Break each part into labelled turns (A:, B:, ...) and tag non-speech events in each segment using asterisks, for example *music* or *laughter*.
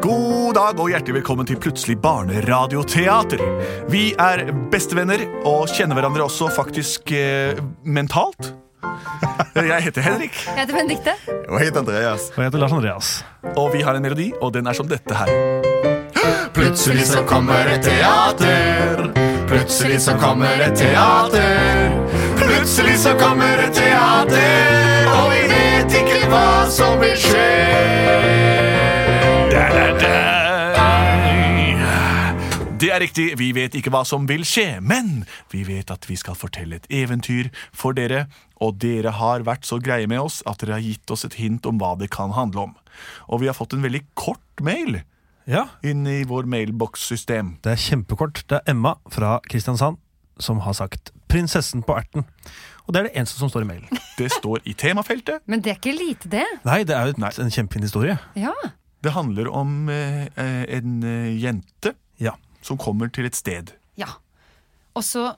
A: God dag og hjertelig velkommen til Plutselig barneradioteater. Vi er bestevenner og kjenner hverandre også faktisk eh, mentalt. Jeg heter Henrik,
B: Jeg heter Benedikte.
C: Og jeg heter Andreas.
D: Og jeg heter Lars Andreas.
A: og vi har en melodi, og den er som dette her.
C: Plutselig så kommer et teater. Plutselig så kommer et teater. Plutselig så kommer et teater, og vi vet ikke hva som vil skje.
A: Det er riktig, vi vet ikke hva som vil skje, men vi vet at vi skal fortelle et eventyr for dere, og dere har vært så greie med oss at dere har gitt oss et hint om hva det kan handle om. Og vi har fått en veldig kort mail
D: Ja,
A: inn i vår mailbokssystem.
D: Det er kjempekort. Det er Emma fra Kristiansand som har sagt 'Prinsessen på erten'. Og det er det eneste som står i mailen.
A: Det står i temafeltet.
B: Men det er ikke lite, det.
D: Nei, det er jo et,
A: Nei.
D: en kjempefin historie.
B: Ja.
A: Det handler om eh, eh, en eh, jente
D: Ja.
A: som kommer til et sted.
B: ja. Og så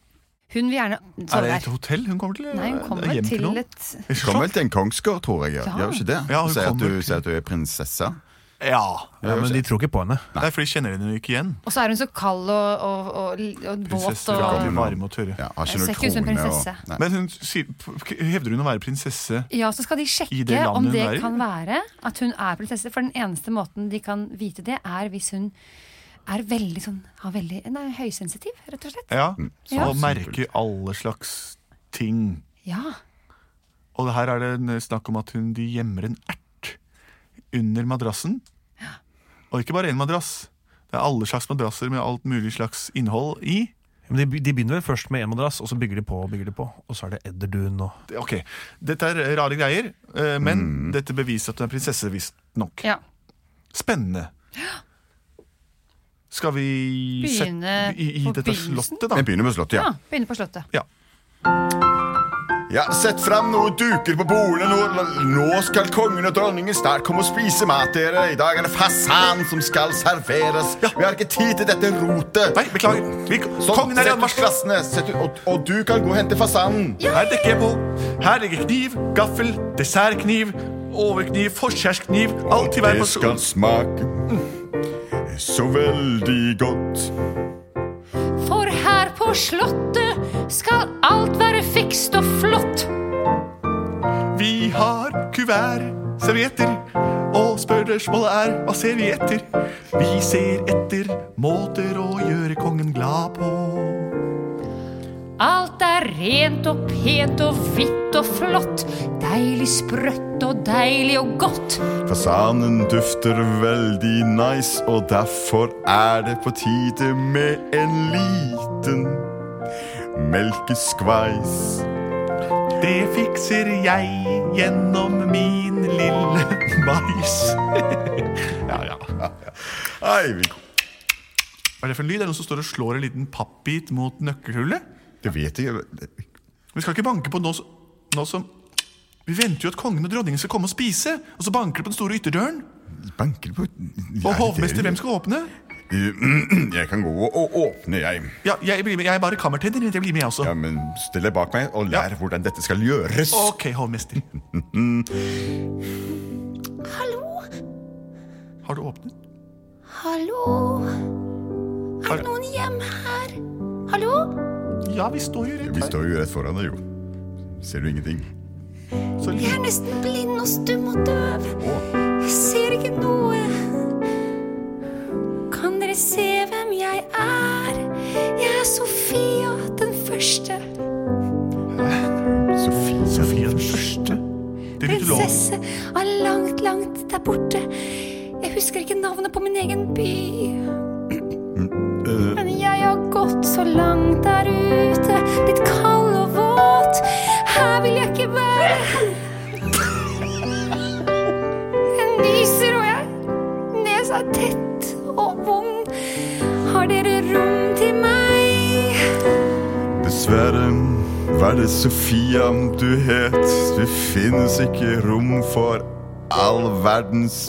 B: Hun vil gjerne
A: Er
B: sove
A: det et
B: der.
A: hotell hun kommer til?
B: Nei, hun kommer
A: Hjem
B: til
A: noen?
B: et
C: Kommer vel til en kongsgård, tror jeg.
B: Ja.
C: Gjør hun ikke det?
A: Ja, hun
C: sier, at
A: kommer
C: du,
A: til-
C: sier at du er prinsesse.
A: Ja.
D: ja, Men de tror ikke på henne.
A: Det er fordi de kjenner henne jo ikke igjen.
B: Og så er hun så kald og, og, og, og våt
A: Prinsesser
B: og
A: er alltid
C: og-
A: varme og tørre.
C: Ja, har
B: Jeg
C: ikke
B: ser
C: noe
B: ikke ut som
C: krone og
B: prinsesse.
C: Nei.
A: Men hun sier, p- hevder hun å være prinsesse?
B: Ja, så skal de
A: I
B: sjekke
A: det landet
B: om
A: hun
B: det
A: er i.
B: kan være at hun er prinsesse. For den eneste måten de kan vite det, er hvis hun er veldig sånn har veldig, Nei, høysensitiv, rett og slett.
A: Ja.
C: Mm.
A: Så
B: Ja.
A: merker alle slags ting.
B: Ja.
A: Og her er det en snakk om at hun, de gjemmer en ert under madrassen. Og ikke bare én madrass. Det er alle slags madrasser med alt mulig slags innhold i.
D: Men de, de begynner vel først med en madrass, og så bygger de på og bygger de på. Og så er det edderdun og
A: Det- Ok, Dette er rare greier, eh, men
C: Mm.
A: dette beviser at hun er prinsesse, visstnok.
B: ja.
A: Spennende. Skal vi
B: Begynne
A: sette i, i
B: på
A: dette
B: begynnelsen?
A: slottet, da?
C: Vi begynner med Slottet,
B: ja.
C: ja.
B: Begynne på Slottet.
A: Ja.
C: Ja, Sett fram noen duker på bordene. Nå, nå skal kongen og dronningen snart komme og spise mat. dere I dag er det fasan som skal serveres. Vi har ikke tid til dette rotet.
A: Nei, beklager. Vi,
C: Sånn,
A: kongen er i
C: sett ut
A: anmarsj!
C: glassene, sett ut- og, og du kan gå og hente fasanen.
A: Her dekker jeg på. Her ligger kniv, gaffel, dessertkniv, overkniv, forskjærskniv. Alt i hver
C: Det skal
A: person. Mm.
C: smake så veldig godt.
B: For her på Slottet skal alt være fikst og flott.
A: Vi har kuvert, servietter, og spørsmålet er hva ser vi etter? Vi ser etter måter å gjøre kongen glad på.
B: Alt er rent og pent og hvitt og flott. Deilig sprøtt og deilig og godt.
C: Fasanen dufter veldig nice, og derfor er det på tide med en liten melkeskveis.
A: Det fikser jeg gjennom min lille *laughs* mais. ja, ja.
C: Nei, vi-
A: Hva er det for en lyd? Er det noen som står og slår en liten pappbit mot nøkkelhullet?
C: det vet jeg ikke.
A: Vi skal ikke banke på nå, s- nå som Vi venter jo at kongen og dronningen skal komme og spise. Og så banker det på den store ytterdøren.
C: Banker det på
A: Og hovmester, hvem skal åpne?
C: *clears throat* Jeg kan gå og åpne, jeg.
A: Ja, jeg blir med. Jeg er bare kammertenner. Jeg blir med, jeg også.
C: Ja, men Still deg bak meg og lær hvordan dette skal gjøres.
A: Ok, hovmester.
E: Hallo?
A: Har du åpnet?
E: Hallo? Er det noen hjemme her? Hallo?
A: Ja, vi står jo rett
C: Vi
A: her.
C: står jo rett foran deg, jo. Ser du ingenting?
A: Så
E: Jeg er
A: li-
E: nesten blind og stum og døv.
C: Å,
E: Jeg ser ikke noe. Kan dere se hvem jeg er? Jeg er Sofia den første.
C: Sofie.
A: Sofia den første. Det vil ikke lov.
E: Prinsesse av langt, langt der borte. Jeg husker ikke navnet på min egen by. Men jeg har gått så langt der ute, blitt kald og våt. Her vil jeg ikke være. Jeg nyser, og jeg nesa seg tett og vond. Har dere rom til meg?
C: Dessverre var det Sofia du het. Det finnes ikke rom for all verdens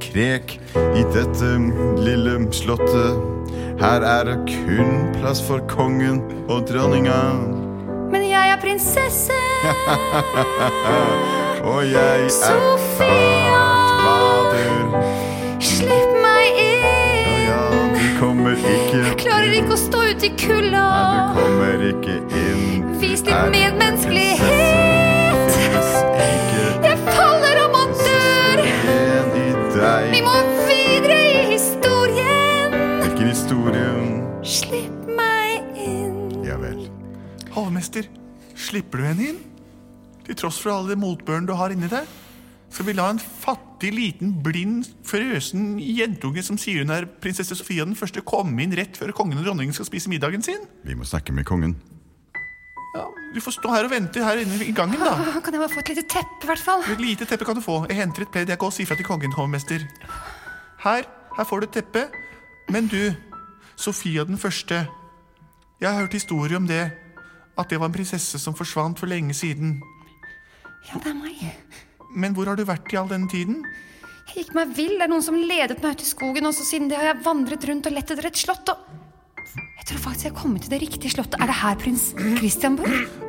C: krek i dette lille slottet. Her er det kun plass for kongen og dronninga.
E: Men jeg er prinsesse
C: Og jeg er
E: Sofia.
C: bader.
E: Slipp meg
C: Ja,
E: inn.
C: ja, du kommer ikke
E: Jeg klarer ikke å stå ute i kulda.
C: Du kommer ikke inn.
E: Vis
C: Er
E: litt medmenneskelighet.
C: prinsesse. Finnes
E: Jeg faller om og dør.
C: ikke en i deg.
E: Vi må videre i historien.
C: Hvilken historie?
E: Slipp meg inn.
C: Ja vel.
A: Hovmester, slipper du henne inn? Til tross for alle de motbøren du har inni deg? Skal vi la en fattig, liten, blind, frøsen jentunge som sier hun er prinsesse Sofia den første, komme inn rett før kongen og dronningen skal spise middagen sin?
C: Vi må snakke med kongen.
A: Ja, Du får stå her og vente her inne i gangen, da.
B: Åh, Kan jeg bare få et lite teppe, i hvert fall?
A: Et lite teppe kan du få. Jeg henter et pledd. Jeg går og sier fra til kongen, hovmester. Her, her får du et teppe. Men du, Sofia den første. Jeg har hørt historier om det. At det var en prinsesse som forsvant for lenge siden.
B: Ja, det er meg.
A: Men hvor har du vært i all denne tiden?
B: Jeg gikk meg vill. Det er noen som ledet meg ut i skogen, og så siden det har jeg vandret rundt og lett etter et slott, og Jeg tror faktisk jeg har kommet til det riktige slottet. Er det her prins Christian bor?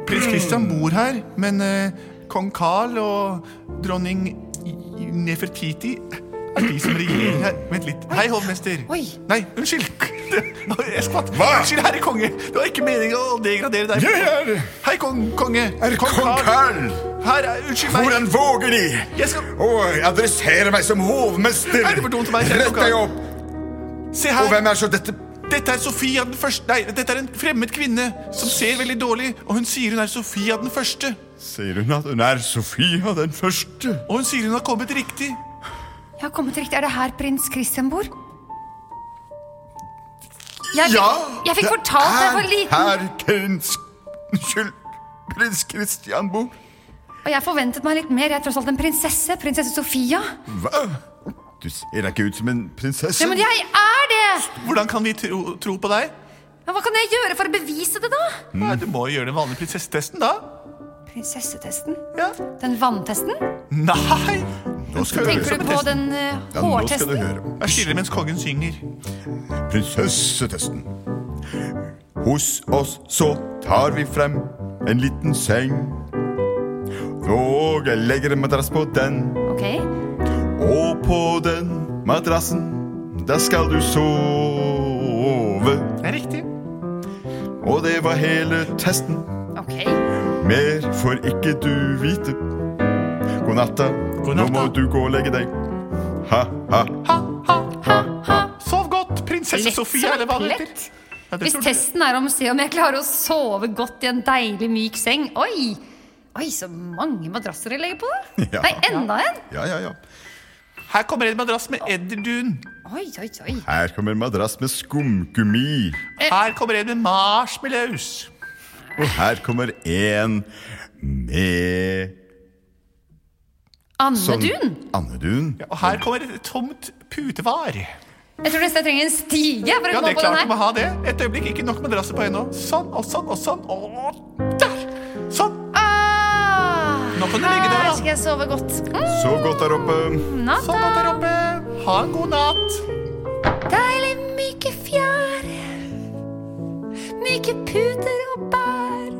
A: Prins Christian bor her, men eh, kong Carl og dronning I- I- Nefertiti er de som regjerer her. Vent litt. Hei, hovmester.
B: Oi.
A: Nei, unnskyld. *laughs* Det- Jeg skvatt. Unnskyld, herre konge. Det var ikke meningen å degradere deg.
C: er
A: Hei, kong, konge.
C: Er kong Karl!
A: Her er Unnskyld meg.
C: Hvordan våger De
A: Jeg skal
C: å adressere meg som hovmester?
A: Er det for dumt av meg?
C: Rett deg opp!
A: Se
C: Og
A: her.
C: hvem er så dette
A: Dette er Sofia den første Nei, dette er en fremmed kvinne som ser veldig dårlig, og hun sier hun er Sofia den første.
C: Sier hun at hun er Sofia den første?
A: Og hun sier hun har kommet riktig.
B: Jeg har kommet til riktig. Er det her prins Christian bor? Jeg fikk,
C: Ja!
B: jeg fikk fortalt da jeg var liten,
C: Her, prins Unnskyld. Prins Christian bor.
B: og jeg forventet meg litt mer. Jeg er tross alt en prinsesse. Prinsesse Sofia.
C: Hva? Du ser da ikke ut som en prinsesse.
B: Ja, men jeg er det!
A: Hvordan kan vi tro, tro på deg?
B: Men hva kan jeg gjøre for å bevise det, da?
C: Mm.
A: Nei, du må jo gjøre den vanlige prinsessetesten, da.
B: Prinsessetesten?
A: Ja.
B: Den vanntesten?
A: Nei!
C: Nå skal du
B: Tenker
C: høre.
B: du på den eh,
C: Ja, nå skal du
B: hårtesten?
C: høre.
A: Jeg skiller mens kongen synger.
C: Prinsessetesten. Hos oss så tar vi frem en liten seng. Og jeg legger en madrass på den,
B: Ok.
C: og på den madrassen, der skal du sove.
A: Det er riktig.
C: Og det var hele testen.
B: Ok.
C: Mer får ikke du vite. God natta.
A: God
C: Nå
A: natta.
C: må du gå og legge deg. Ha, ha.
A: Ha, ha, ha, ha. Sov godt, prinsesse
B: Lett
A: Sofia.
B: som
A: eller hva hun heter.
B: plett.
A: Ja, det
B: Hvis
A: tror du.
B: testen er om å se om jeg klarer å sove godt i en deilig myk seng Oi! Oi, så mange madrasser jeg legger på! da.
C: *laughs* Ja.
B: Nei, enda en!
C: Ja, ja, ja.
A: Her kommer en madrass med edderdun.
B: Oi, oi, oi.
C: Her kommer en madrass med skumgummi.
B: Eh.
A: Her kommer en med marshmallows.
C: Og her kommer en med sånn-
B: Andedun?
C: Andedun.
A: Og her kommer et tomt putevar.
B: Jeg tror nesten jeg trenger en stige for å
A: Ja, det er
B: komme opp på
A: klart du
B: den
A: må
B: her.
A: ha det. Et øyeblikk, ikke nok madrasser på ennå. Sånn og sånn og sånn og der. Sånn.
B: Ah,
A: Nå kan du legge deg, da.
B: Her skal jeg sove godt. Mm,
C: Sov godt der oppe.
A: Sånn at der
B: natta.
A: oppe. Ha en god natt.
E: Deilig myke fjær. Myke puter og bær.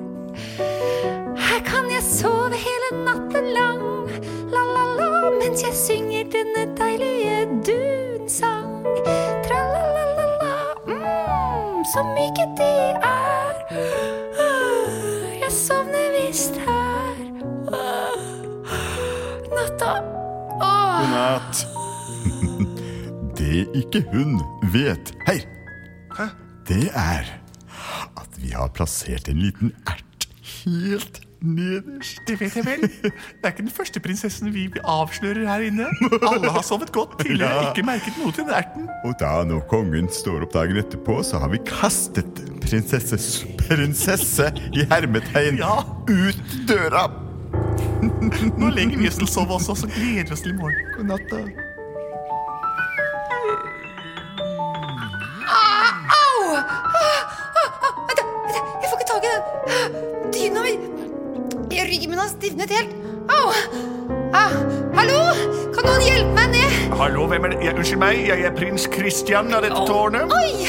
E: Her kan jeg sove hele natten lang. La-la-la, mens jeg synger denne deilige dunsang. Tra-la-la-la-la, mm, så myke de er. Ah, Jeg sovner visst her. Ah, Natta. Åh.
C: Natt. *laughs* Det ikke hun vet Hei! Det er at vi har plassert en liten ert helt nederst.
A: Det vet jeg vel. Det er ikke den første prinsessen vi avslører her inne. Alle har sovet godt tidligere,
C: Ja.
A: ikke merket noe til den erten.
C: Og da når kongen står opp dagen etterpå, så har vi kastet prinsesses prinsesse i hermetegn
A: Ja.
C: ut døra.
A: Nå legger vi oss til å sove også, så gleder vi oss til i morgen. God natt, da.
B: stivnet helt. Au! Ah, hallo? Kan noen hjelpe meg ned?
A: Hallo, hvem er det? Ja, unnskyld meg, jeg er prins Christian av dette tårnet.
B: Oi!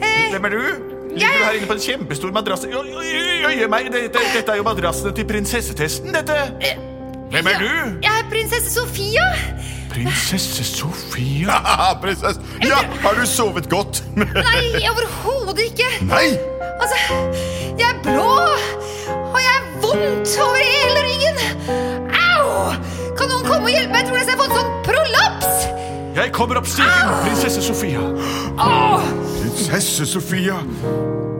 B: Eh,
A: Hvem er du? Ligger du her inne på en kjempestor madrass Oi, oi, oi, oi, meg, dette, dette er jo madrassene til prinsessetesten, dette. Hvem er du?
B: jeg er prinsesse Sofia.
A: Prinsesse Sofia.
C: Haha, prinsesse. Ja, har du sovet godt?
B: Nei, overhodet ikke.
C: Nei!
B: Altså, jeg er blå, og jeg er vondt over hele ryggen. Au! Kan noen komme og hjelpe meg? Jeg tror nesten jeg har fått sånn prolaps.
A: Jeg kommer opp stigen, prinsesse Sofia.
B: Åh,
C: Prinsesse Sofia.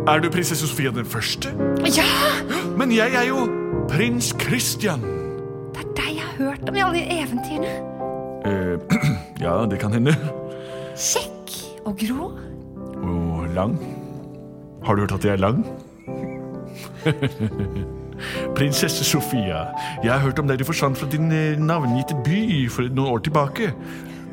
A: Er du prinsesse Sofia den første?
B: ja,
A: Men jeg er jo prins Christian.
B: det er deg jeg har hørt om i alle de eventyrene.
A: Eh, *clears throat* ja, det kan hende.
B: Kjekk og grå.
A: Og lang. Har du hørt at jeg er lang? *laughs* Prinsesse Sofia, jeg har hørt om deg du forsvant fra din eh, navngitte by for noen år tilbake.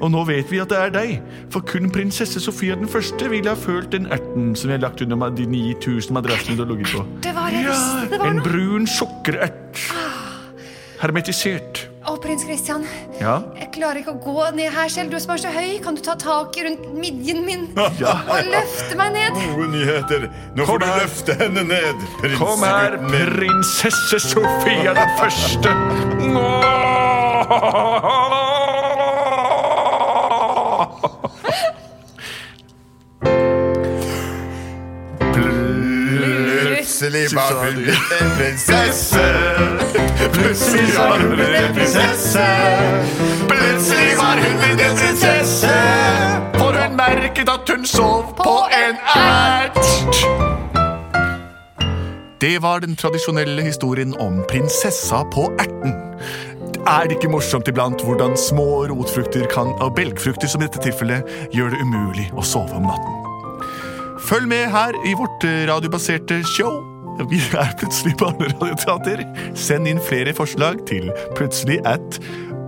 A: Og nå vet vi at det er deg, for kun prinsesse Sofia den første ville ha følt den erten som jeg har lagt under ma- de 9000 madrassene du har ligget på.
B: Det var jeg visste det var
A: en
B: noe.
A: brun sukkerert. Hermetisert.
B: Å, prins Christian,
A: Ja.
B: jeg klarer ikke å gå ned her selv. Du som er så høy, kan du ta tak rundt midjen min
A: Ja.
B: og løfte meg ned?
C: Gode nyheter. Nå
A: Kom
C: får du
A: her.
C: løfte henne ned, prins.
A: Kom her,
C: gutten min.
A: prinsesse Sofia den første.
C: Plutselig var hun blitt en prinsesse. Plutselig var hun blitt en prinsesse. Plutselig var hun blitt en prinsesse.
A: For hun merket at hun sov
B: på en
A: ert. Det var den tradisjonelle historien om prinsessa på erten. Er det ikke morsomt iblant hvordan små rotfrukter kan, og belgfrukter som i dette tilfellet gjør det umulig å sove om natten? Følg med her i vårt eh, radiobaserte show. Vi er plutselig barneradioteater. Send inn flere forslag til plutselig at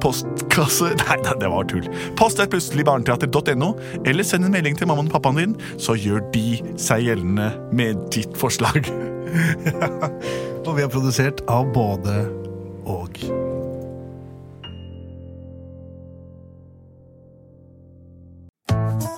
A: postkasse... *laughs* Nei, nei, det var tull. Post at plutseligbarneteater.no, eller send en melding til mammaen og pappaen din, så gjør de seg gjeldende med ditt forslag. *laughs*
D: Og vi er produsert av både og.